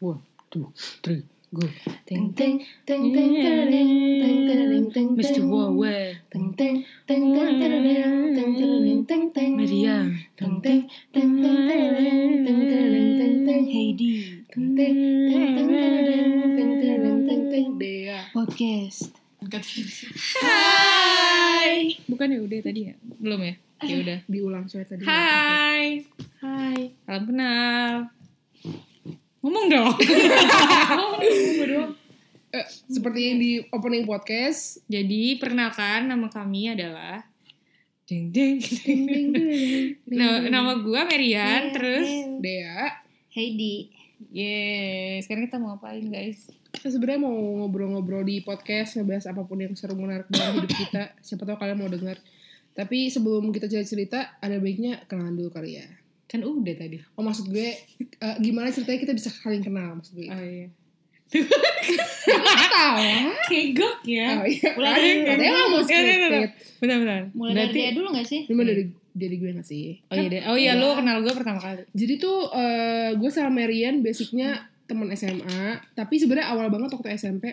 One, two, three, go. Ting ting ting ting tararing, ting tararing, ting Mr. ting. Huawei, Ting ting ting ting tararing, ting tararing, ting ting. Miriam, Ting ting ting ting tararing, ting tararing, ting ting. Heidi, Ting ting ting ting tararing, ting tararing, ting ting. Dea. podcast. Hai. Bukan ya udah tadi ya? Belum ya? Ya udah. Diulang saya tadi. Hai. Hai. Salam kenal. Ngomong dong. Eh, seperti yang di opening podcast, Jadi perkenalkan nama kami adalah Deng deng. Ting ting tararing. Nah, nama gua Merian terus Dea. Heidi. Yeay, sekarang kita mau ngapain guys? Kita sebenarnya mau ngobrol-ngobrol di podcast, ngebahas apapun yang seru menarik dalam hidup kita. Siapa tahu kalian mau dengar. Tapi sebelum kita cerita-cerita, ada baiknya kenalan dulu kali ya. Kan udah tadi. Oh maksud gue, eh, gimana ceritanya kita bisa saling kenal maksud gue. Oh iya. Tahu? Kegok ya. Oh iya. Mulai Aduh, dari- katanya nggak Ya, ya, mau ya, ya. scripted. Bentar, bentar. Mulai dari Berarti- dia dulu gak sih? Cuma dari dari gue nggak sih? Oh iya, deh. oh iya, lu kenal gue pertama kali. Jadi tuh eh, gue sama Marian basicnya teman SMA, tapi sebenarnya awal banget waktu SMP.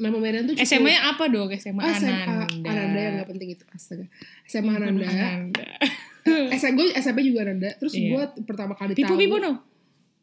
Nama Marian tuh cukup- SMA-nya apa dong? SMA Ah, SMA Ananda. Ananda yang gak penting itu. Astaga. SMA Ananda. Ananda. SMA gue SMP juga Ananda. Terus Hmm. Iya. gue pertama kali Pipo tahu Pipo no.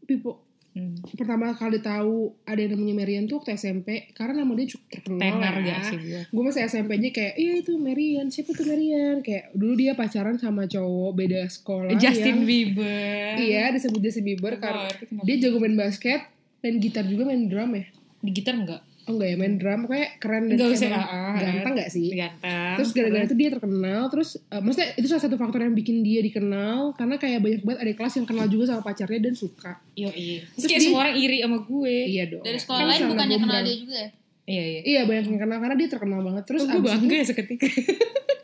Pipo. Hmm. Pertama kali tahu ada yang namanya Marian tuh waktu SMP karena nama dia cukup terkenal. Tenar ya. gak sih gue? gue masih SMP aja kayak iya itu Marian siapa tuh Marian kayak dulu dia pacaran sama cowok beda sekolah Eh, Justin yang- Bieber. iya disebut Justin Bieber karena Oh, itu kenapa? dia jago main basket main gitar juga main drum ya di gitar enggak? oh enggak ya main drum kayak keren dan Enggak usah. emang ah, ah. ganteng gak sih Kan? Ganteng. Iya. terus gara-gara itu dia terkenal terus eh, maksudnya itu salah satu faktor yang bikin dia dikenal karena kayak banyak banget ada kelas yang kenal juga sama pacarnya dan suka Yo iya. Terus Terus kayak dia- semua orang iri sama gue. iya dong Dari sekolah Kan lain sama bukannya kenal bumerang. dia juga ya? Iya iya. iya banyak yang kenal karena dia terkenal banget terus Terus gue abis bangga ya seketika.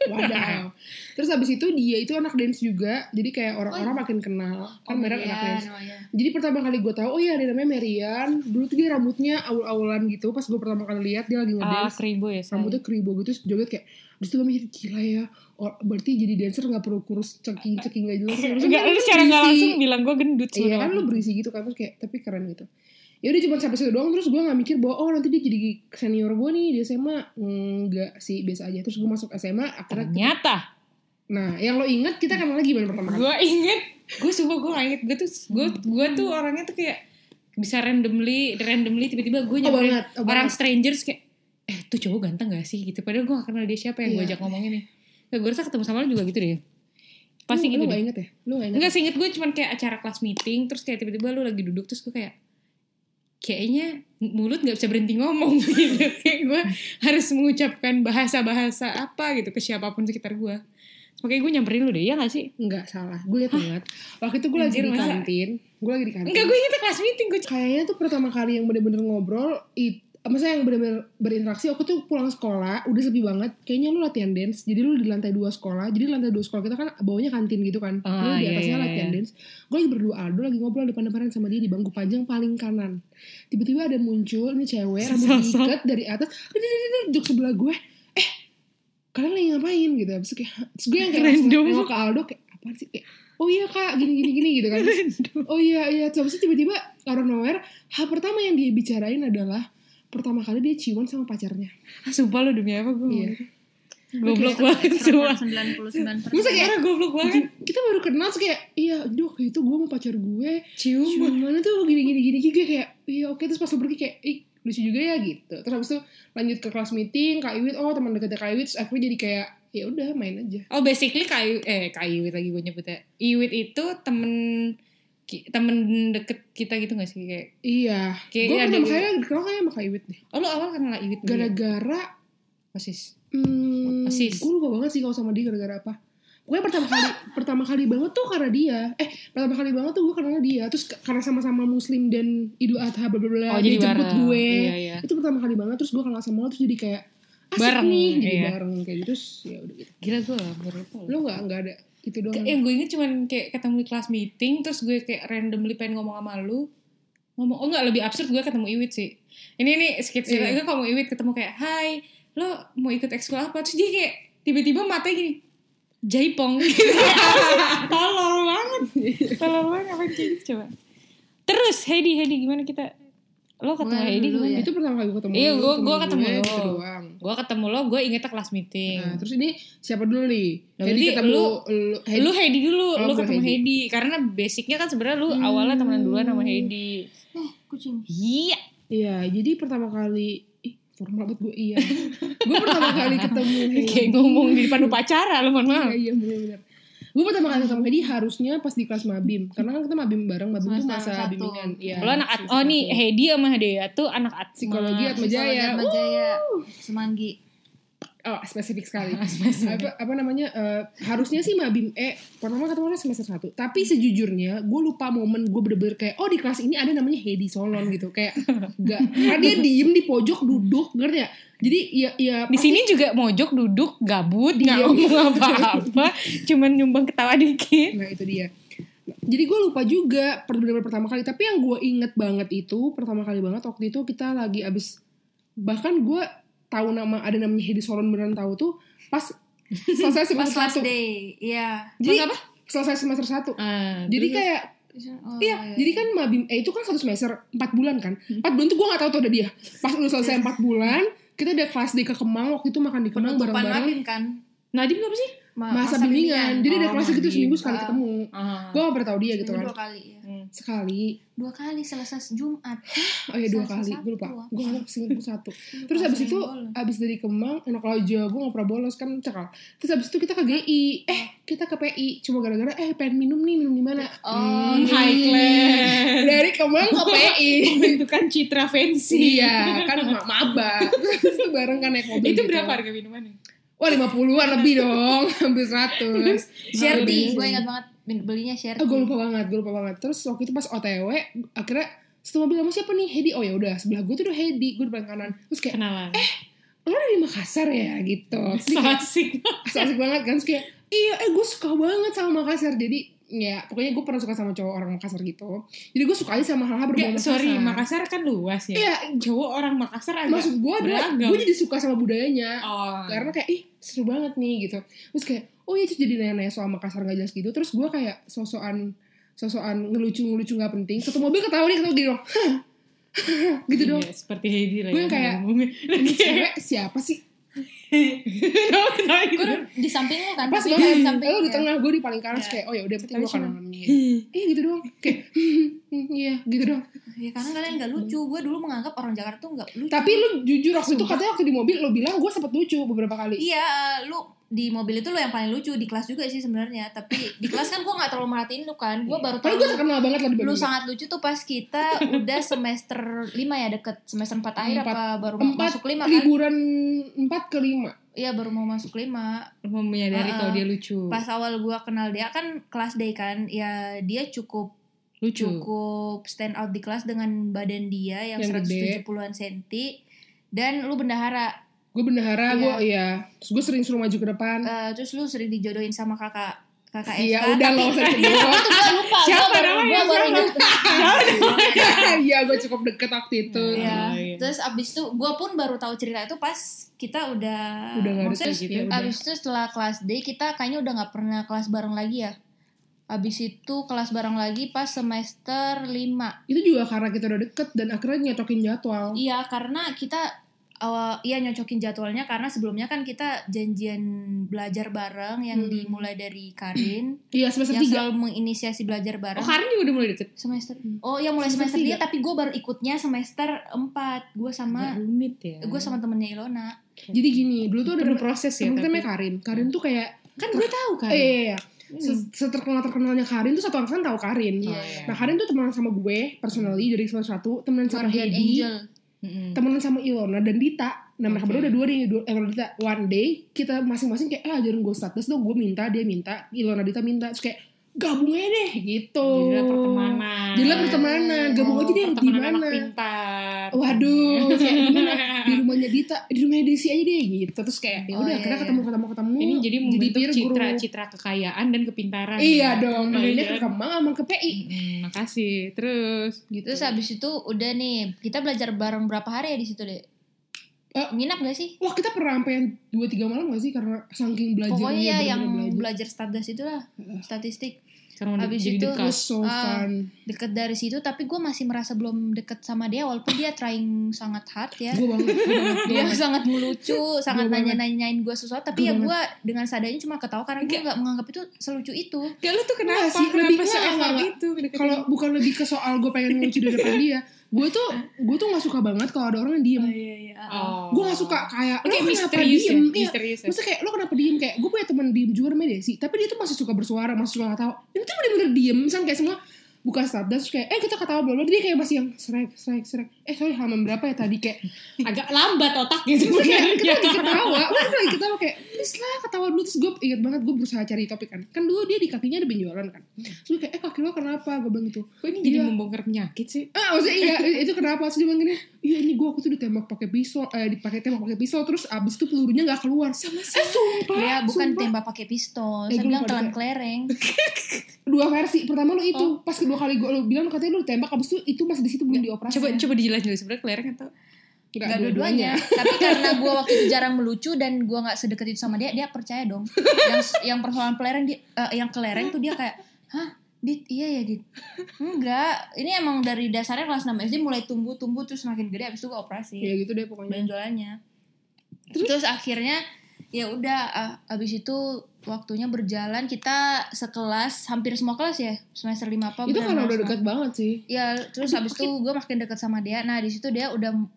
Wadaw. Terus abis itu dia itu anak dance juga, jadi kayak orang-orang makin kenal. Kan Merian Oh, anak Iya, dance. namanya. Jadi pertama kali gue tahu, oh iya ada namanya Merian. Dulu tuh dia rambutnya awal-awalan gitu. Pas gue pertama kali lihat dia Ah, lagi ngedance, seribu ya saya. rambutnya keribo gitu, terus joget kayak. Terus gue mikir gila ya. or- berarti jadi dancer nggak perlu kurus ceking-ceking gak jelas. Terus Enggak, kan lu secara enggak berisi. langsung bilang gue gendut semua. Iya kan lu berisi gitu kan terus kayak tapi keren gitu. Ya udah cuma sampai situ doang terus gue nggak mikir bahwa oh nanti dia jadi senior gue nih di SMA enggak sih biasa aja terus gue masuk SMA akhirnya Hmm. Ternyata Nah, yang lo inget kita kenal lagi gimana pertama kali? gue inget, gue sumpah gue inget, gue tuh gue gue tuh orangnya tuh kayak bisa randomly randomly tiba-tiba gue nyamperin banget, oh orang banget. strangers kayak eh tuh cowok ganteng gak sih gitu padahal gue gak kenal dia siapa yang gue Iya. ajak ngomongin nih nah, gue rasa ketemu sama lo juga gitu deh pasti Lu- gitu Lu deh gak inget ya? Lu gak inget? enggak sih inget gue cuman kayak acara kelas meeting terus kayak tiba-tiba lu lagi duduk terus gue kayak kayaknya mulut gak bisa berhenti ngomong gitu kayak gue harus mengucapkan bahasa-bahasa apa gitu ke siapapun sekitar gue Terus makanya gue nyamperin lu deh ya gak sih Enggak, salah. Gue inget banget. Waktu itu gue lagi Anjir, di masa? kantin. Gue lagi di kantin. enggak gue inget kelas meeting gue Kayaknya tuh pertama kali yang bener-bener ngobrol, it, maksudnya yang bener-bener berinteraksi, aku tuh pulang sekolah, udah sepi banget. Kayaknya lu latihan dance, jadi lu di lantai dua sekolah. Jadi lantai dua sekolah kita kan bawahnya kantin gitu kan. Ah, lu di iya, atasnya iya, latihan iya. dance. Gue lagi berdua Aldo lagi ngobrol depan-depanan sama dia di bangku panjang paling kanan. Tiba-tiba ada muncul, ini cewek, rambut Sosok. diikat dari atas. Duduk sebelah gue, kalian lagi ngapain gitu abis itu kayak terus gue yang kayak Random. langsung nengok ke Aldo kayak apa sih kayak oh iya kak gini gini gini gitu kan Terus, oh iya iya terus abis itu tiba-tiba out of nowhere hal pertama yang dia bicarain adalah pertama kali dia ciuman sama pacarnya ah, sumpah lu demi apa gue Iya. goblok banget semua Extrovert 99%. Masa kayak Orang goblok banget kita baru kenal terus kayak iya dok itu gue mau pacar gue cium ciuman tuh gini gini gini gue kayak iya oke terus pas lo pergi kayak ih lucu juga ya gitu terus abis itu lanjut ke kelas meeting kak Iwit oh teman dekatnya kak Iwit terus akhirnya jadi kayak ya udah main aja Oh basically kayu eh kayu lagi gue nyebutnya. Iwit itu temen ki- temen deket kita gitu gak sih kayak iya kayak gue ada pertama kali kenal kayak sama kak Iwit deh oh lo awal kenal Iwit dulu ya? gara-gara Persis. Hmm, Persis. gue lupa banget sih kalau sama dia gara-gara apa. Pokoknya pertama kali pertama kali banget tuh karena dia. Eh, pertama kali banget tuh gue karena dia. Terus ke- karena sama-sama muslim dan Idul Adha bla bla bla Oh, dia jadi jemput bareng. gue. Iya, iya. Itu pertama kali banget terus gue kenal sama lo terus jadi kayak asik Bareng, nih, jadi iya. bareng kayak gitu. Terus ya udah gitu. Gila gue baru lupa. Lo nggak nggak ada itu doang. Yang gue inget cuman kayak ketemu di kelas meeting terus gue kayak randomly pengen ngomong sama lu ngomong oh nggak lebih absurd gue ketemu Iwit sih ini ini skit sih Iya. gue ketemu Iwit ketemu kayak Hai lo mau ikut ekskul apa terus dia kayak tiba-tiba matanya gini "Eh, jaipong gitu tolol banget tolol banget apa gitu coba Terus Heidi, Heidi gimana kita? Lo ketemu Mulai Heidi dulu gimana? ya. Itu pertama kali gue ketemu. Iya, lu, gua- gua temen ketemu gue, lu. gitu doang. Gue ketemu lo, gue ingetnya kelas meeting. Nah, terus ini siapa dulu nih? Nah, Jadi berarti ketemu lu, lu- Heidi. Lu Heidi dulu, Oh, lu gua ketemu Heidi. Heidi. Karena basicnya kan sebenarnya lu Hmm. awalnya temenan duluan sama Heidi. Eh, kucing. Iya. Iya, jadi pertama kali ih formal banget gue iya. gue pertama kali ketemu Heidi. Kayak ngomong di depan upacara lo mohon maaf. Iya, iya benar-benar. Gue pertama kali ketemu Heidi harusnya pas di kelas mabim, karena kan kita mabim bareng, mabim tuh Semester masa satu. bimbingan. Iya. Lo anak at semester oh satu. nih Heidi sama Dea tuh anak at Psikologi Atma Jaya. Majaya. Majaya. Semanggi. Oh, spesifik sekali. Ah, apa, apa namanya? eh, harusnya sih Mabim E pertama ketemu lo semester 1. Tapi sejujurnya gue lupa momen gue bener-bener kayak oh di kelas ini ada namanya Hedi Solon gitu. Kayak enggak karena dia diem di pojok duduk, ngerti ya? Jadi ya ya Di sini juga mojok duduk gabut nggak Diam. ngomong apa-apa, cuman nyumbang ketawa dikit. Nah itu dia. Nah, Jadi gue lupa juga per- bener-bener pertama kali. Tapi yang gue inget banget itu pertama kali banget waktu itu kita lagi abis bahkan gue tahu nama ada namanya Hedi Solon beneran tahu tuh pas selesai Pas semester last satu. day. Iya. Jadi Pas apa? selesai semester satu. Ah, Jadi terus- kayak Oh, Iya, jadi kan mabim eh itu kan satu semester 4 bulan kan. 4 bulan tuh gue gak tahu tuh ada dia. Pas udah selesai 4 bulan, kita ada kelas di ke Kemang waktu itu makan di Kemang penutupan bareng-bareng Mabim kan. Nadiem apa sih? Ma- masa bimbingan. Jadi ada Oh, kelas gitu mabim. seminggu sekali Ah. ketemu. Gue gak pernah tahu dia gitu Seminggu kan. Dua kali ya. Sekali. Dua kali Selasa Jumat. Oh iya dua Satu, kali, satu gue lupa. apa? Gue lupa singkat gue satu. Terus abis itu abis dari Kemang anak aja gue gak pernah bolos kan cekal. Terus abis itu kita ke GI. Eh, kita ke PI cuma gara-gara eh pengen minum nih, minum di mana? Oh, Hmm, high class. Dari Kemang ke PI. Membentukkan citra fancy. Iya, kan mak maba. Terus itu bareng kan naik mobil. Itu gitu. berapa harga minumannya? Wah 50-an lebih dong, hampir 100. share Mabim. tea. Gue ingat banget bin- belinya share Oh, gue tea. lupa banget, gue lupa banget. Terus waktu itu pas OTW, akhirnya setelah mobil sama siapa nih? Hedi. Oh ya udah, sebelah gue tuh udah Hedi, gue depan kanan. Terus kayak, Kenalan. lo dari Makassar ya gitu. Terus dia kayak, Eh, Asik. asik, asik banget kan. Terus kayak, iya eh gue suka banget sama Makassar. Jadi ya pokoknya gue pernah suka sama cowok orang Makassar gitu. Jadi gue suka aja sama hal-hal berbau Nggak, sorry, Makassar kan luas ya. Iya, Cowok orang Makassar agak maksud gue adalah beragam. gue jadi suka sama budayanya. Oh. karena kayak ih seru banget nih gitu terus kayak oh iya terus jadi nanya-nanya soal Makassar gak jelas gitu terus gue kayak sosokan sosokan ngelucu-ngelucu gak penting satu mobil ketawa nih ketawa gini dong gitu Iya, dong seperti Heidi lah ya, Gue kayak, ya. ngomongnya. ini cewek siapa sih Ketawa, ketawa gitu. Gue di samping lo kan. pas tapi banget di samping lo di ya. tengah gue di paling kanan terus Ya. kayak oh ya udah penting Tapi gue kanan cuman, iya gitu dong kayak "Hmm, iya gitu dong Ya karena kalian gak lucu. Gue dulu menganggap orang Jakarta tuh gak lucu. tapi lu jujur waktu itu katanya waktu di mobil lo bilang gue sempet lucu beberapa kali Iya, lu di mobil itu lu yang paling lucu di kelas juga sih sebenarnya. Tapi di kelas kan gue nggak terlalu merhatiin lu kan. Gue baru tahu padahal gue terkenal banget lah di lu mobil sangat lucu tuh pas kita udah semester 5 ya deket semester 4 akhir Empat. apa baru mau empat masuk 5 kan? liburan empat ke lima Iya baru mau masuk 5. Mau menyadari Ah, kalau dia lucu. Pas awal gua kenal dia kan kelas day kan. Ya dia cukup Iya. lucu. cukup stand out di kelas dengan badan dia yang, Yang gede. 170-an senti dan lu bendahara. gue bendahara Iya. gue iya terus gue sering suruh maju ke depan Eh, terus lu sering dijodohin sama kakak kakak Hmm. iya SK. udah lo usah sebut. Itu gua lupa. Siapa gua baru, namanya? gua baru Siapa? ingat. iya gue cukup deket waktu itu Iya. Oh, iya. Terus abis itu gue pun baru tahu cerita itu pas kita udah, udah nggak ada maksudnya lagi ya, ya udah abis itu setelah kelas D kita kayaknya udah nggak pernah kelas bareng lagi ya. Abis itu kelas bareng lagi pas semester 5 itu juga karena kita udah deket dan akhirnya nyocokin jadwal Iya karena kita awal iya nyocokin jadwalnya karena sebelumnya kan kita janjian belajar bareng yang Hmm. dimulai dari Karin iya semester yang tiga selalu menginisiasi belajar bareng. Oh, Karin juga udah mulai deket. semester oh ya mulai semester, Hmm. Semester dia tapi gue baru ikutnya semester 4 gue sama Agak rumit ya. gue sama temennya Ilona jadi gini dulu tuh ada berproses ya. temen kita namanya tapi- Karin Karin tuh kayak Kan gue tahu kan. Oh, eh, iya, iya. Se- seterkenal terkenalnya Karin tuh satu angkatan tahu Karin Iya. nah Karin tuh temenan sama gue personally dari semester satu temenan sama Guardian Hedi Angel temenan sama Ilona dan Dita Nah mereka Oke. berdua udah dua nih dua, eh, kalau Dita One day kita masing-masing kayak ah ajarin gue status dong Gue minta dia minta Ilona Dita minta Terus kayak gabung aja deh gitu Jadilah pertemanan. Jadilah pertemanan Gabung Oh, aja deh di Pertemanan anak mana pintar. Waduh kayak gimana Di rumahnya Dita Di rumahnya Desi aja deh gitu Terus kayak ya Oh, udah iya, akhirnya iya. ketemu ketemu ketemu Ini jadi membentuk peer group. citra-citra kekayaan dan kepintaran. Iya ya. dong Mainnya ke Iya. Kemang sama ke PI Hmm, makasih. Terus gitu. terus habis itu udah nih kita belajar bareng berapa hari ya di situ deh Eh. nginap gak sih Wah kita pernah sampai yang 2-3 malam gak sih Karena saking belajarnya pokoknya ya iya, bener-bener yang belajar. belajar status itulah statistik Karena udah Habis jadi itu dekat. It was so Ah. fun. deket dari situ tapi gue masih merasa belum deket sama dia walaupun dia trying sangat hard ya Gue banget. gua banget, gua dia banget. sangat Iya, lucu sangat banget. nanya-nanyain gue sesuatu Gua tapi ya gue dengan sadanya cuma ketawa karena gue nggak menganggap itu selucu itu Gak lu tuh kenapa? Enggak sih, kenapa gitu? lebih- se enggak, effort enggak, itu? deketin? Kalau bukan lebih ke soal gue pengen lucu di depan dia, gue ya, tuh gue tuh nggak suka banget kalau ada orang yang diem. iya iya oh. Gue nggak suka kayak lo Kayak kenapa misterius ya, diem? Iya, misterius ya. Maksudnya kayak lo kenapa diem kayak gue punya teman diem juga namanya Desi tapi dia tuh masih suka bersuara masih suka ketawa ini tuh bener-bener diem misalnya kayak semua buka status terus kayak eh kita ketawa bla bla dia kayak masih yang serak serak serak eh sorry halaman berapa ya tadi kayak Agak lambat gitu. Iya. otaknya terus kayak kita Iya. sebenarnya. lagi kan ketawa Wah, kita lagi ketawa kayak please lah ketawa dulu terus gue inget banget gue berusaha cari topik kan kan dulu dia di kakinya ada benjolan kan terus gue kayak eh kaki lo kenapa gue bilang gitu Kok ini jadi Iya. membongkar penyakit sih? Ah, maksudnya iya, itu kenapa? Terus dia bilang gini, iya ini gue aku tuh ditembak pakai pisau, eh dipakai tembak pakai pisau, terus abis itu pelurunya nggak keluar. Sama sih. Eh, sumpah. Dia Iya, Ya, bukan sumpah. tembak pakai pistol, Eh, saya gua bilang lupa telan detail. kelereng. Dua versi. Pertama lu itu, Oh. pas kedua kali gue lu bilang lu katanya lu ditembak, abis itu itu masih di situ belum dioperasi. Coba coba dijelasin dulu sebenarnya kelereng atau Nggak Gak dua-duanya. Tapi karena gue waktu itu jarang melucu dan gue nggak sedekat itu sama dia, dia percaya dong. Yang yang persoalan kelereng, dia, eh, yang kelereng tuh dia kayak, hah, dit, iya ya dit. Enggak, ini emang dari dasarnya kelas 6 SD mulai tumbuh-tumbuh terus makin gede, abis itu gue operasi Ya gitu deh pokoknya. benjolannya. Terus, akhirnya ya udah, ah, abis itu waktunya berjalan kita sekelas hampir semua kelas ya semester 5 apa itu benar-benar karena udah semua. dekat banget sih. ya terus habis itu gue makin dekat sama dia nah di situ dia udah m-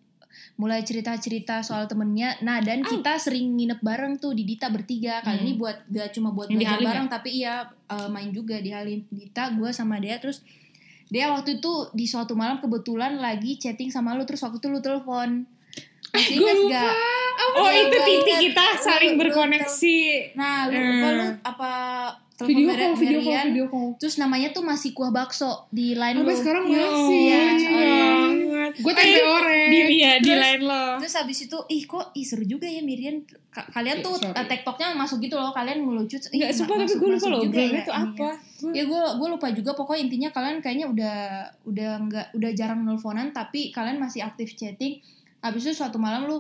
mulai cerita cerita soal temennya nah dan kita sering nginep bareng tuh di Dita bertiga kali Ah. Hmm. ini buat gak cuma buat Yang ya? di belajar Halim bareng tapi iya eh, main juga di Halim Dita gue sama dia terus dia waktu itu di suatu malam kebetulan lagi chatting sama lu terus waktu itu lu telepon masih gue ingat Eh, lupa. gak Oh, iya, itu gua titik ingat. kita saling Gua- gua berkoneksi. nah lu, Eh. lupa lu apa telepon Video Mer- call, video call, Merian. video call. terus namanya tuh masih kuah bakso di line Sampai lu. sekarang Ya masih. iya. Oh, Gue tempe orek. Di iya, di Terus- lain lo. Terus habis itu, ih kok ih, seru juga ya Mirian. Ka- kalian Oke, tuh sorry. eh, TikToknya masuk gitu loh, kalian ngelucu. Ih, Enggak ma- sumpah tapi masuk- gue lupa masuk loh juga obrolannya ya, tuh ininya. apa. Gua- Ya gue gue lupa juga pokoknya intinya kalian kayaknya udah udah nggak udah jarang nelponan tapi kalian masih aktif chatting. Habis itu suatu malam lu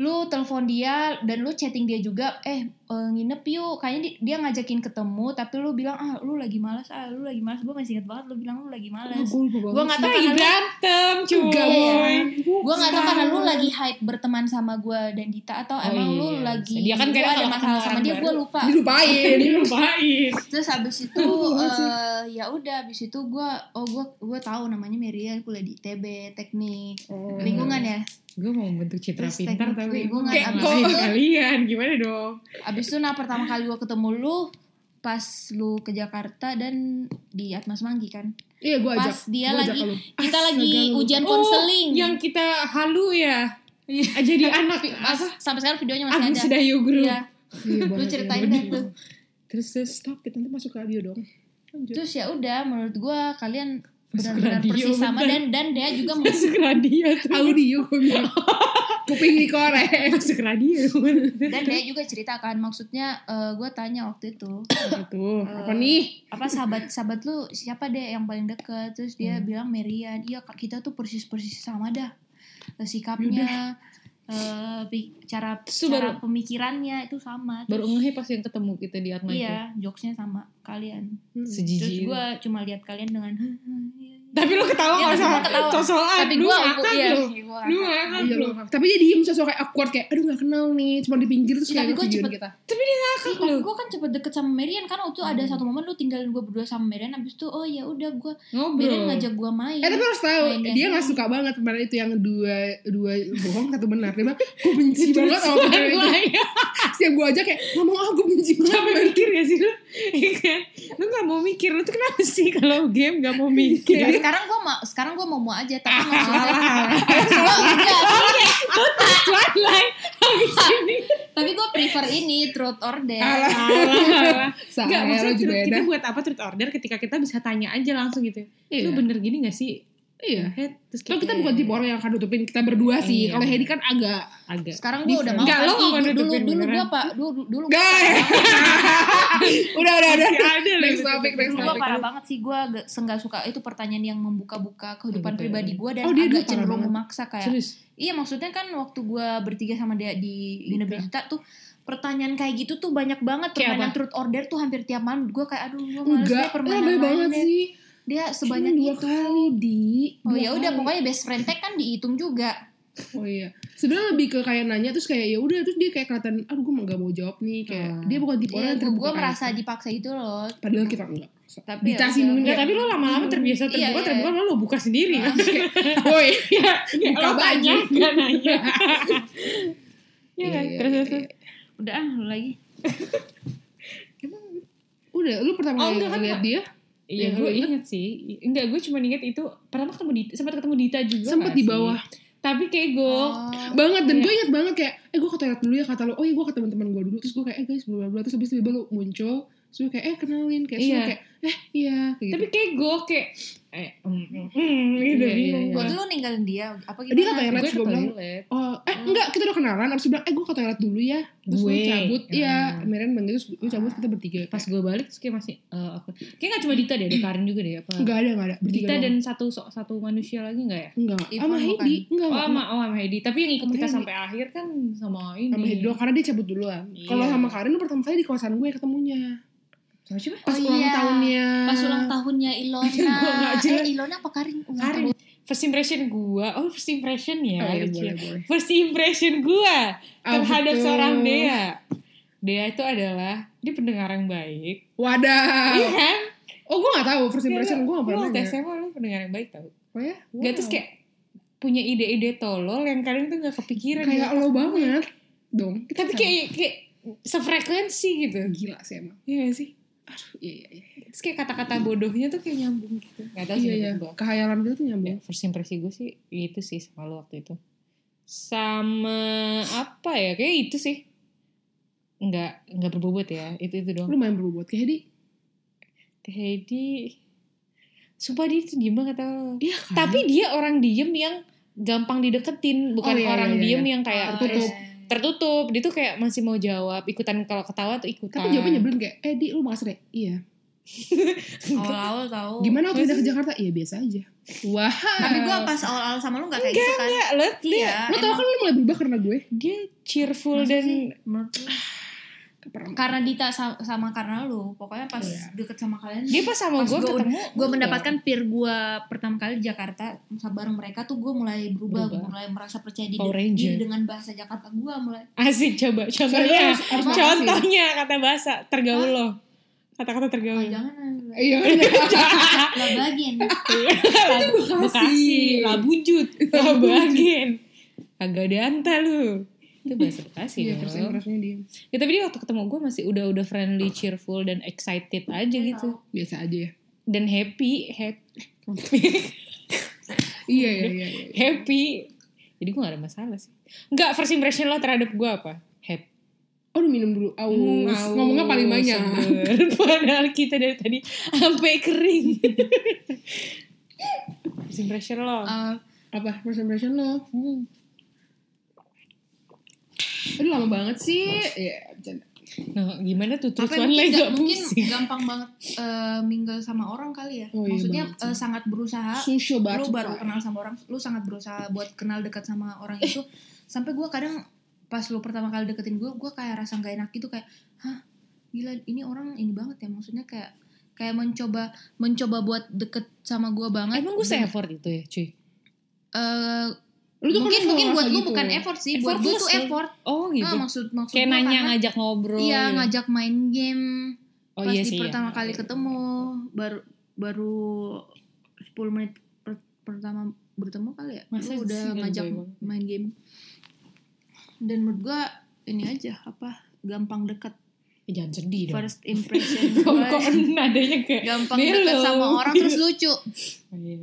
lu telepon dia dan lu chatting dia juga eh eh, nginep yuk kayaknya di- dia ngajakin ketemu tapi lu bilang ah lu lagi malas ah lu lagi malas gue masih inget banget lu bilang lu lagi malas Gue lupa banget. gue nggak Kita tahu lagi karena lu- berantem Enggak, cuy. gue gak tau karena lu lagi hype berteman sama gue dan Dita atau Oh emang lu iya, lagi bisa. Dia kan lu kayaknya ada kalau masalah sama kenalan dia baru. gue lupa Dilupain. Dilupain. terus habis itu Iya eh, ya udah habis itu gue oh gue gue tahu namanya Mirian kuliah di TB teknik Hmm. Oh. lingkungan ya Gue mau membentuk citra Terus pintar teknik tapi lingkungan, kayak abis kok itu- kalian gimana dong? habis itu nah pertama kali gue ketemu lu pas lu ke Jakarta dan di Atmas Manggi kan Iya gue ajak. pas dia Gua ajak lagi lu. kita Astaga, lagi lu. ujian konseling Oh, yang kita halu ya. Jadi anak Mas, sampai sekarang videonya masih Agus ada Dayuguru. Iya. Iya, lu banget, iya, ceritain bener. deh tuh Terus terus Stop, kita nanti masuk radio dong. Lanjut. terus ya udah menurut gue kalian Iya. Masuk benar-benar radio, persis sama bentar. dan dan dia juga meng- masuk radio tuh. audio gue bilang kuping dikorek masuk radio. dan dia juga ceritakan maksudnya gue tanya waktu itu Gitu. tuh apa Eh, nih apa sahabat sahabat lu siapa deh yang paling deket terus dia Hmm. bilang Merian iya Kak, kita tuh persis persis sama dah Eh, sikapnya eh, pi- cara Terus cara pemikirannya itu sama Baru terus, ngeh pas yang ketemu kita di Atma iya jokesnya sama kalian itu. terus Sejiji. gue cuma lihat kalian dengan "Hah, hah, iya, iya." Tapi lu ketawa kalau Iya, tapi sama gua ketawa. sosokan. tapi Lu gue ngakak iya, lu. gua Lu ngakak. ngakak Iya, lu. loh. tapi dia diem sosok kayak awkward kayak aduh gak kenal nih cuma di pinggir terus Iya, kayak gitu. tapi gua videoin cepet- kita Ih, tapi gue kan cepet deket sama Merian karena waktu ada satu momen lu tinggalin gue berdua sama Merian abis itu oh ya udah gue Hmm. Merian Ngobrol. ngajak gue main eh tapi harus tahu Mainnya. dia gak suka banget kemarin itu yang dua dua bohong satu benar dia bilang gue benci kan banget sama benar itu Iya. setiap gue aja kayak ngomong ah gue benci banget Sampai mikir gak sih lu? Iya kan? Lu gak mau mikir. Lu tuh kenapa sih kalau game gak mau mikir? Nah, Iya. sekarang gue mau sekarang gue mau mau aja tapi maksudnya Gua enggak, Twilight. Habis ini. tapi gue prefer ini truth or dare Alah, Salah. Salah, Gak lo maksudnya juga truth- enak. kita buat apa truth order ketika kita bisa tanya aja langsung gitu. Iya. Lu bener gini gak sih? Iya. head terus gitu. Kalau kita bukan tipe orang yang akan nutupin kita berdua sih. Iya. Kalau Hedi kan agak agak sekarang gue udah mau Ah. Enggak, lo kan? nggak Ih, dulu dulu, nutupin dulu gue beneran. apa dulu dulu gua Gak. kan- udah udah udah. Masih ada gitu. lagi Next topic, next Dulu topic. gue parah banget sih gue senggak suka itu pertanyaan yang membuka-buka kehidupan Betul. pribadi gue dan Oh, dia dulu agak parah cenderung banget. memaksa kayak serius iya maksudnya kan waktu gue bertiga sama dia di Dita. Universitas tuh pertanyaan kayak gitu tuh banyak banget Kayak permainan truth order tuh hampir tiap malam gue kayak aduh gue males Enggak, deh permainan rame lain banget deh. sih. dia Cuma sebanyak dua itu kali di. oh dua ya udah kali. pokoknya best friend tag kan dihitung juga Oh iya. Sebenarnya lebih ke kayak nanya terus kayak ya udah terus dia kayak kelihatan aduh gue nggak mau jawab nih kayak Hmm. dia bukan tipe orang ya, yang terbuka. gue kayak merasa gitu. dipaksa itu loh padahal kita enggak. tapi Dita ya sih udah. mungkin Enggak, tapi lo lama-lama terbiasa Iya, terbuka iya. terbuka malah lo buka sendiri. Iya. Woi, Iya, Oh, Buka lo tanya, baju. nggak nanya. Iya, Iya, kan? iya, terus iya, terus. terus. udah ah, lu lagi udah lu pertama Oh, kali enggak, kan, lihat Kak. dia Iya, Yang gue lu inget? inget sih. Enggak, gue cuma inget itu pertama ketemu Dita, sempat ketemu Dita juga. sempet nggak di sih? bawah Tapi kayak gue Oh. banget iya. dan gue inget banget kayak eh gue ke toilet dulu ya kata lo oh iya gue ke teman-teman gue dulu terus gue kayak eh guys bla bla bla terus habis tiba-tiba lo muncul terus gue kayak eh kenalin kayak terus Iya. gue kayak eh iya kayak gitu. tapi kayak gue kayak eh, mm, mm, mm, gitu Iya, iya, bingung iya. gue gue. tuh lo ninggalin dia apa gitu Dia katanya- Gue Let's ke go bilang. toilet. Oh, eh enggak kita udah kenalan harus bilang eh gue ke toilet dulu ya terus Gue. gue cabut ya Hmm. Meren bang terus gue cabut kita bertiga Pas gue balik terus kayak masih eh, aku kayak nggak cuma Dita deh, ada Karin juga deh apa? enggak ada enggak ada bertiga Dita doang. Hmm. dan satu satu manusia lagi nggak ya? enggak Ivan sama bukan. Hedi enggak Oh enggak, sama, oh, sama Hedi. Tapi yang ikut Sama kita Hedi. sampai akhir kan sama ini. sama Hedi doang karena dia cabut duluan Iya. kalau sama Karin lu pertama kali di kawasan gue ketemunya Sama siapa? pas Oh, ulang iya. tahunnya pas ulang tahunnya Ilona Gua nggak eh jelas. Ilona apa Karin Ulang Karin. First impression gua. Oh, first impression ya. oh, iya, lucu ya. boleh, boleh. First impression gua Ah, terhadap betul. seorang Dea. Dea itu adalah dia pendengar yang baik. Wadah. Iya kan? Oh gue gak tahu first impression gue gak Lu pernah waktu nanya. SMA lu pendengar yang baik tau. Oh ya? Wow. Gak terus kayak punya ide-ide tolol yang kadang tuh gak kepikiran. kayak ya. lo banget dong. Kita Tapi sama. kayak, kayak sefrekuensi gitu. gila sih emang. Iya gak sih? Iya iya iya. Terus kayak kata-kata bodohnya tuh kayak nyambung gitu. Gak tau sih Iya iya. menurut gua. Kehayalan kita tuh Ya, nyambung. first impresi gue sih itu sih sama lo waktu itu. Sama apa ya? Kayak itu sih. Nggak nggak berbobot ya. Itu itu doang. Lumayan berbobot kayak di. Ke Hedi. Sumpah dia itu diem banget tau. Iya kan? Tapi dia orang diem yang gampang dideketin, bukan Oh, iya, orang iya, iya, diem iya. yang kayak Oh, tertutup. iya. Tertutup, dia tuh kayak masih mau jawab, ikutan kalau ketawa tuh ikutan. Tapi jawabannya nyebelin kayak, eh di lu makasih deh. Iya. awal-awal tau Gimana waktu udah ke Jakarta? Iya biasa aja. Wah. tapi gue pas awal-awal sama lu gak kayak gitu kan Enggak, lo iya Lo tau kan lu mulai berubah karena gue. dia cheerful Masa dan sih? menurut lu? Keperem. karena Dita sa- sama karena lu pokoknya pas Iya. deket sama kalian dia pas sama Pas gue gua ketemu gue udah. mendapatkan peer gue pertama kali di Jakarta bareng mereka tuh gue mulai berubah, Berubah. mulai merasa percaya diri, Power Ranger. diri dengan bahasa Jakarta gue mulai Asik coba Soalnya contohnya. harus- harus makasih. Contohnya kata bahasa tergaul lo. Kata-kata oh, tergaul. jangan Iya kan? lah bagian Labu- Bekasi. Bekasi, labujut, labagen. Agak ada anta lu. Itu bahasa Bekasi. Iya dong. first impressionnya dia. Ya, tapi dia waktu ketemu gue masih udah udah friendly, cheerful dan excited aja Iya. gitu. Biasa aja ya. Dan happy, happy. Iya iya iya. iya. happy. Jadi gue gak ada masalah sih. Enggak, first impression lo terhadap gue apa? Happy. Oh lu minum dulu. Aus. Hmm, Ngomongnya paling aus, banyak. seger. Padahal kita dari tadi sampai kering. First impression lo. Eh, Apa first impression lo? Aduh lama banget sih. Iya bercanda. Nah, gimana tuh terus apa one mungkin, lagi gak, gak mungkin pusing? gampang banget eh, mingle sama orang kali ya Oh, iya maksudnya banget sih. eh, sangat berusaha Susho banget. lu baru kenal sama orang lu sangat berusaha buat kenal dekat sama orang itu sampai gue kadang pas lu pertama kali deketin gue gue kayak rasa nggak enak gitu kayak hah gila ini orang ini banget ya maksudnya kayak kayak mencoba mencoba buat deket sama gue banget Emang gue se-effort itu ya cuy? Eh, Lu tuh mungkin kenapa mungkin ngerasa buat lu gitu? bukan effort sih buat gue Effortless tuh ya? effort Oh Ah, gitu? maksud maksud Kayak gua nanya karena- ngajak ngobrol iya gitu. ngajak main game oh, pas iya di sih, iya. pertama kali ketemu baru baru 10 menit per- pertama bertemu kali ya Masa lu udah sih, kan ngajak lebay banget. main game dan menurut gua ini aja apa gampang deket Eh, Jangan sedih dong first impression Kok gua kok nadanya kayak gampang belum. deket sama orang terus lucu Oh, iya.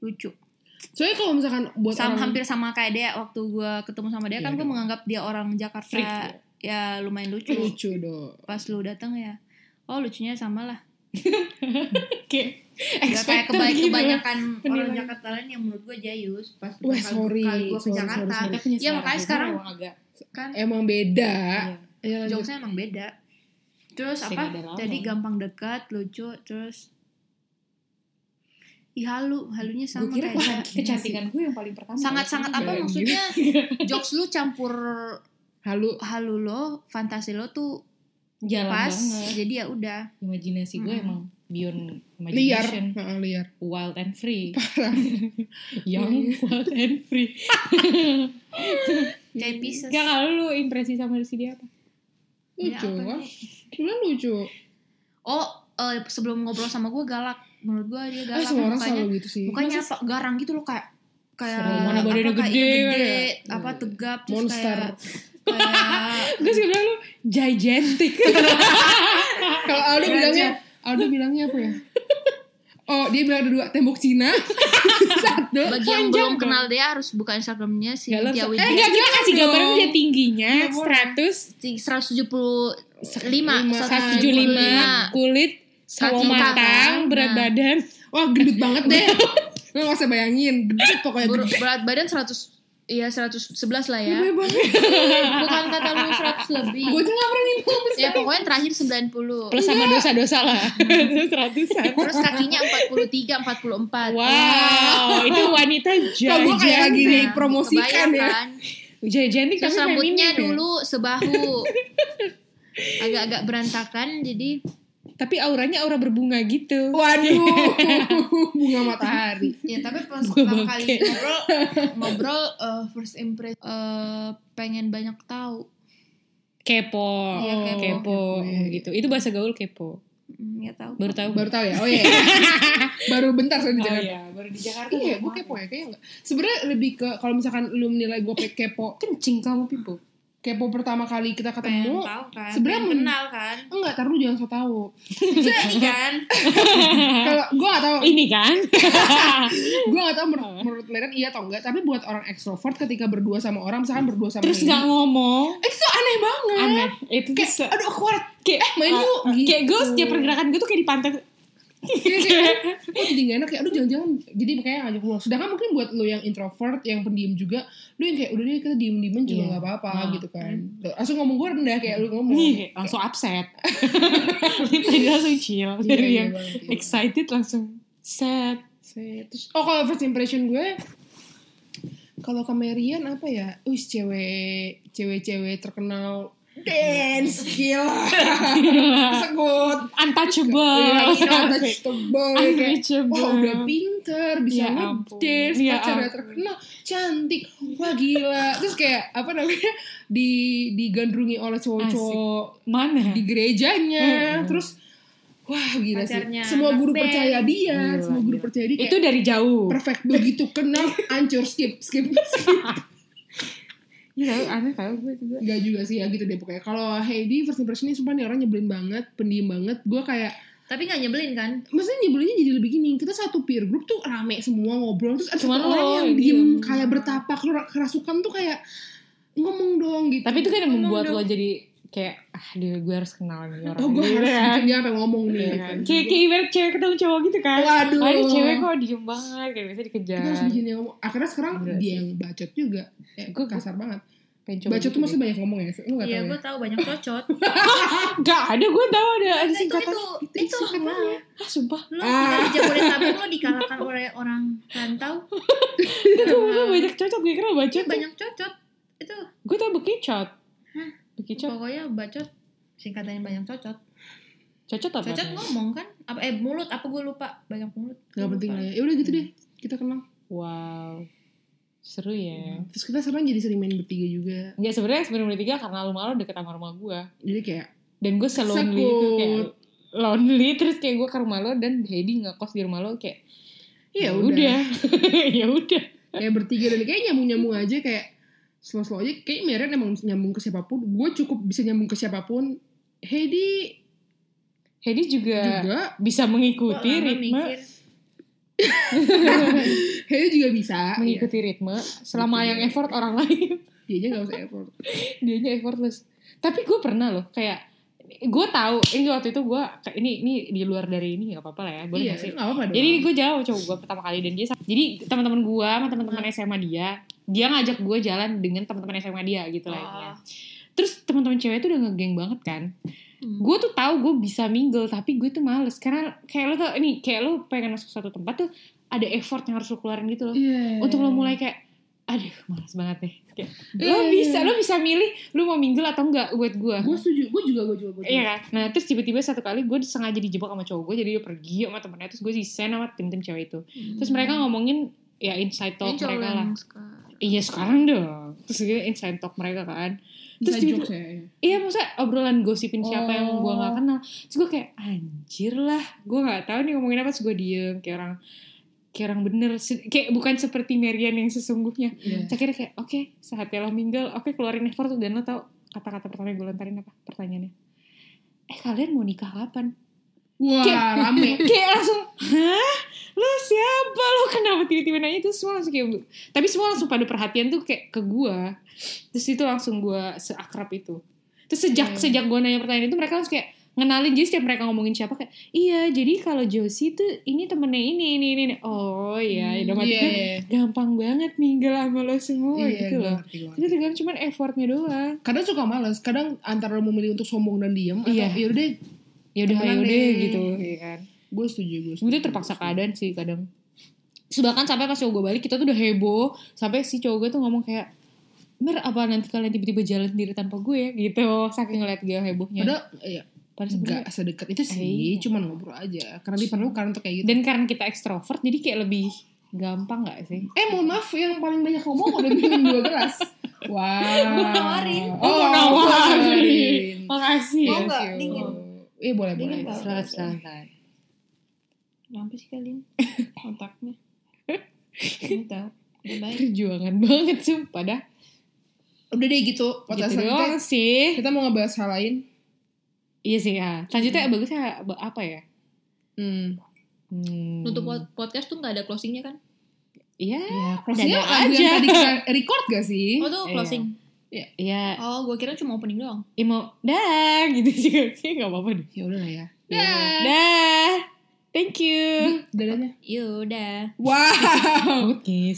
lucu Soalnya kalau misalkan buat sama orang hampir sama kayak dia waktu gua ketemu sama dia Iya, kan gua dong. menganggap dia orang Jakarta Freak, iya. ya lumayan lucu lucu dong. pas lu datang ya oh lucunya sama lah kayak Gak kayak expected keba- gitu kebanyakan orang penilaian. Jakarta lain yang menurut gue jayus pas Wah, pertama sorry. kali gue ke Sorry, Jakarta sorry, sorry. Ya, makanya sekarang- gitu, agak kan Eh, Emang beda. iya. Ayo lanjut. jokesnya emang beda terus Pasti apa nggak ada lama. tadi gampang dekat lucu terus Ih halu, gue halunya sama kira kayak wah, Jack. kecantikan Iya, gue yang paling pertama Sangat-sangat apa Gila, maksudnya jokes lu campur Halu. halu lo, fantasi lo tuh jalan pas. banget Jadi ya udah. imajinasi gue Mm-mm. emang beyond Liar. imagination Heeh, liar. wild and free Iya. young wild and free Iya. Kayak pieces. gak kalau lu impresi sama si dia apa Ya, Lucu. apa ah. nih? Gila lucu. Oh, eh, sebelum ngobrol sama gue galak. Menurut gue Eh, dia Ah, galak. semua orang mukanya, selalu gitu sih. mukanya apa? Garang gitu loh kayak kayak Iya. Serem. Mana badannya kayak gede, ya? gede, kayak- apa tegap terus Monster. kayak kayak gue suka bilang lu gigantic Kalau Aldo bilangnya, Aldo bilangnya apa ya? Oh, dia bilang ada dua tembok Cina. Satu. bagi Panjang yang belum dong. kenal dia harus buka Instagramnya si Gak Cynthia eh Widya gak kita kasih dong. gambaran aja tingginya Iya, Gak boleh. 100 175 175 kulit sawo Kaki matang matang, berat nah. badan Wah, gendut banget deh. Lo gak usah bayangin, gendut pokoknya Bur- gendut. berat badan 100 Iya 111 lah ya Gede banget. Bukan kata lu 100 lebih Gue aja gak berani ngomong. Ya pokoknya terakhir 90 plus sama dosa-dosa lah terus ratusan Terus kakinya 43, 44 wow itu wanita Kok gue kayak lagi Nah, gigantic dipromosikan ya. kebayang kan? gigantic Terus tapi rambutnya feminin ya. dulu sebahu Agak-agak berantakan jadi tapi auranya aura berbunga gitu Waduh, bunga matahari. Ya tapi pas Gua pertama bangke. kali ngobrol Ngobrol eh, first impression eh, Pengen banyak tahu kepo Iya, kepo. kepo Kepo. gitu itu bahasa gaul kepo Hmm, Ya tahu baru tahu Baru tahu ya? Oh iya. Baru bentar soalnya di oh, Jakarta. iya, baru di Jakarta Iya, baru gue kepo ya kayaknya enggak. Sebenarnya lebih ke kalau misalkan lu menilai gue kayak kepo, kencing kamu pipo kepo pertama kali kita Pengen ketemu, tahu kan sebenarnya pengen men- kenal kan enggak, taruh lu jangan so tau. Jadi kan Kalau gue gak tau, ini kan gue gak tau menurut, menurut Meren iya atau enggak, tapi buat orang ekstrovert ketika berdua sama orang, misalkan berdua sama terus ini, Eh, nggak ngomong itu tuh aneh banget. aneh itu tuh se- Aduh, aku kuat. kayak main uh, yuk, gitu. kayak gue setiap pergerakan gue tuh kayak dipantau Iya, kayak, oh, jadi gak enak ya, aduh jangan-jangan jadi makanya ngajak keluar. Sedangkan mungkin buat lo yang introvert, yang pendiam juga, lu yang kayak udah deh kita diem-diemen juga Iya. gak apa-apa Nah. gitu kan. Langsung ngomong gue rendah kayak lu ngomong. Iya, nih langsung upset tadi langsung chill Iya, dari iya yang banget, iya. excited langsung sad Set. Terus, oh kalau first impression gue, kalau kamerian apa ya? Us cewek, cewek-cewek terkenal dance gila, sekut, Iya, untouchable untouchable, kayak Unreachable. Wah udah pinter, Ya bisa ampun. ngedance, Ya pacarnya ampun. terkenal, cantik, wah gila. Terus kayak apa namanya di digandrungi oleh cowok-cowok mana di gerejanya, terus wah gila Pacarnya sih. Semua anak guru band. percaya dia, Gila, semua guru gila. percaya dia. kayak itu dari jauh perfect begitu kenal, hancur skip skip. skip. Iya, aneh tau gue juga. Gak juga sih ya gitu deh pokoknya. Kalau Heidi first impressionnya sumpah nih orang nyebelin banget, pendiam banget. Gue kayak Tapi gak nyebelin kan maksudnya nyebelinnya jadi lebih gini kita satu peer group tuh rame semua ngobrol terus ada Cuman satu orang lo yang yang diem diem. kayak bertapak ker- kerasukan tuh kayak ngomong dong gitu Tapi itu kan yang Ngomong membuat dong. lo jadi kayak ah dia gue harus kenal nih orang. oh gue Gitu harus kan. bikin dia sampai ngomong nih Iya gitu. kan. Kayak kayak ibarat cewek ketemu cowok gitu kan. Waduh. Ada cewek kok diem banget kayak biasa dikejar. kita harus bikin dia ngomong akhirnya sekarang Gila dia sih. yang bacot juga eh, gue Gua- kasar banget Pengen coba bacot gitu tuh maksudnya deh. banyak ngomong ya lu gak Iya tau gue ya tahu banyak cocot Gak Ah, ada gue tahu ada ada Nah, Itu itu singkatan. itu, itu ya? wow. Ah sumpah. Lo Ah. dari Jabodetabek lo dikalahkan oleh orang rantau Iya. Itu gue gue banyak cocot gue kira Itu bacot. banyak cocot Itu Gue tau bekicot. Hah? Bekicot. pokoknya bacot Singkatannya banyak cocot Cocot apa? Cocot ngomong kan apa, Eh mulut apa gue lupa Banyak mulut Iya, gak penting lah ya ya udah gitu Hmm. deh kita kenal Wow. Seru ya. terus kita sekarang jadi sering main bertiga juga Enggak sebenarnya sebelum udah tiga karena lu malu deket sama rumah gue. jadi kayak dan gue se-lonely itu Sekut. kayak lonely terus kayak gue ke rumah lo dan Heidi nggak kos di rumah lo kayak ya ya udah udah ya udah kayak bertiga dan kayak nyambung-nyambung aja kayak slow-slow aja kayak Meren emang nyambung ke siapapun gue cukup bisa nyambung ke siapapun Heidi Heidi juga juga bisa Kok mengikuti lama ritme mikir Heidi juga bisa Iya. mengikuti ritme selama yang effort orang lain dia aja gak usah effort dianya effortless tapi gue pernah loh kayak gue tahu ini waktu itu gue ini ini di luar dari ini nggak apa-apa lah ya boleh iya, nggak sih nggak apa-apa dong. jadi gue jauh cowok gue pertama kali dan dia jadi teman-teman gue sama teman-teman SMA dia dia ngajak gue jalan dengan teman-teman SMA dia gitu lah intinya. terus teman-teman cewek itu udah ngegeng banget kan Hmm. gue tuh tahu gue bisa mingle tapi gue tuh males karena kayak lo tuh ini kayak lo pengen masuk satu tempat tuh ada effort yang harus lo keluarin gitu loh Iya. untuk lo mulai kayak aduh males banget deh Kayak, lo Iya, bisa iya. lo bisa milih lo mau mingle atau enggak buat gue Gue setuju, gue juga, gue juga, gue Iya kan? Nah terus tiba-tiba satu kali gue sengaja dijebak sama cowok gue jadi dia pergi sama temennya terus gue desain sama tim-tim cewek itu. Terus mereka ngomongin ya inside talk Ini cowok mereka yang lah. suka. Iya sekarang dong. Terus gue inside talk mereka kan. Terus Bisa tiba-tiba jokes ya. iya maksudnya obrolan gosipin siapa yang gue Oh. gak kenal. Terus gue kayak anjir lah gue gak tahu nih ngomongin apa terus gue diem kayak orang kayak orang bener Se- kayak bukan seperti Merian yang sesungguhnya. Iya. Terus akhirnya kayak oke saatnya lo mingle oke keluarin effort dan lo tau kata-kata pertama yang gue lontarin apa pertanyaannya. Eh kalian mau nikah kapan? Wah, Kayak- rame. kayak langsung hah lo siapa lo kenapa tiba-tiba nanya itu semua langsung kayak tapi semua langsung pada perhatian tuh kayak ke gua terus itu langsung gua seakrab itu terus sejak Iya. sejak gua nanya pertanyaan itu mereka langsung kayak ngenalin jadi setiap mereka ngomongin siapa kayak iya jadi kalau Josie tuh ini temennya ini ini ini, ini." oh iya udah mati Iya, kan iya. gampang banget minggel sama lo semua Iya, gitu gue loh ngerti, gue ngerti. itu kan cuman effortnya doang kadang suka males kadang antara lo memilih untuk sombong dan diam Iya. atau yaudah ya udah Temenan yaudah deh. gitu ya kan gue setuju gue setuju Sebenernya terpaksa keadaan sih kadang. Terus bahkan sampai pas cowok gue balik kita tuh udah heboh sampai si cowok gue tuh ngomong kayak Mer apa nanti kalian tiba-tiba jalan sendiri tanpa gue ya gitu saking ngeliat gue hebohnya. padahal ya Padahal enggak sebenarnya- sedekat itu Iya. sih cuman ngobrol aja karena diperlukan untuk kayak gitu Dan karena kita ekstrovert jadi kayak lebih gampang gak sih? eh mohon maaf yang paling banyak ngomong udah minum dua gelas wow Gua nawarin. oh, mau gua nawarin. nawarin. Iya, Makasih. Mau ya. nggak? Thank you. Dingin. eh boleh boleh Dingin nggak? Silakan, silakan, silakan. Nyampe Ya, sih kalian kontaknya. Ini tahu. Bye. Perjuangan banget sumpah dah. udah deh gitu podcast Gitu doang selanjutnya sih. kita mau ngebahas hal lain Iya sih ya. Selanjutnya bagusnya apa ya? hmm. Hmm. Untuk podcast tuh nggak ada closingnya kan? Iya. Ya, closingnya Dadah ada aja. yang tadi kita record gak sih? Oh tuh Iya. closing. Iya. Oh gue kira cuma opening doang. Imo, dah gitu juga sih nggak apa-apa deh. Ya udah lah ya. Dah, thank you. Ya Dadanya. Yaudah. Wow. Oke.